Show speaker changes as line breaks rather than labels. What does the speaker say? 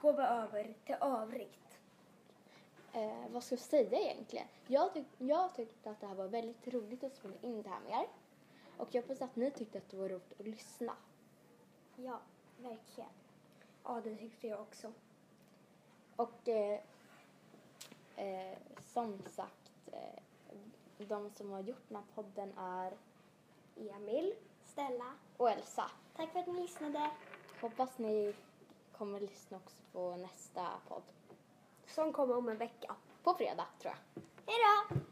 går vi över till övrigt.
Eh, vad ska jag säga egentligen? Jag, tyck, jag tyckte att det här var väldigt roligt att spela in det här med er. Och jag hoppas att ni tyckte att det var roligt att lyssna.
Ja, verkligen. Ja, det tyckte jag också.
Och eh, eh, som sagt, eh, de som har gjort den här podden är
Emil.
Stella,
och Elsa.
tack för att ni lyssnade.
Hoppas ni kommer lyssna också på nästa podd.
Som kommer om en vecka.
På fredag tror jag.
Hej då!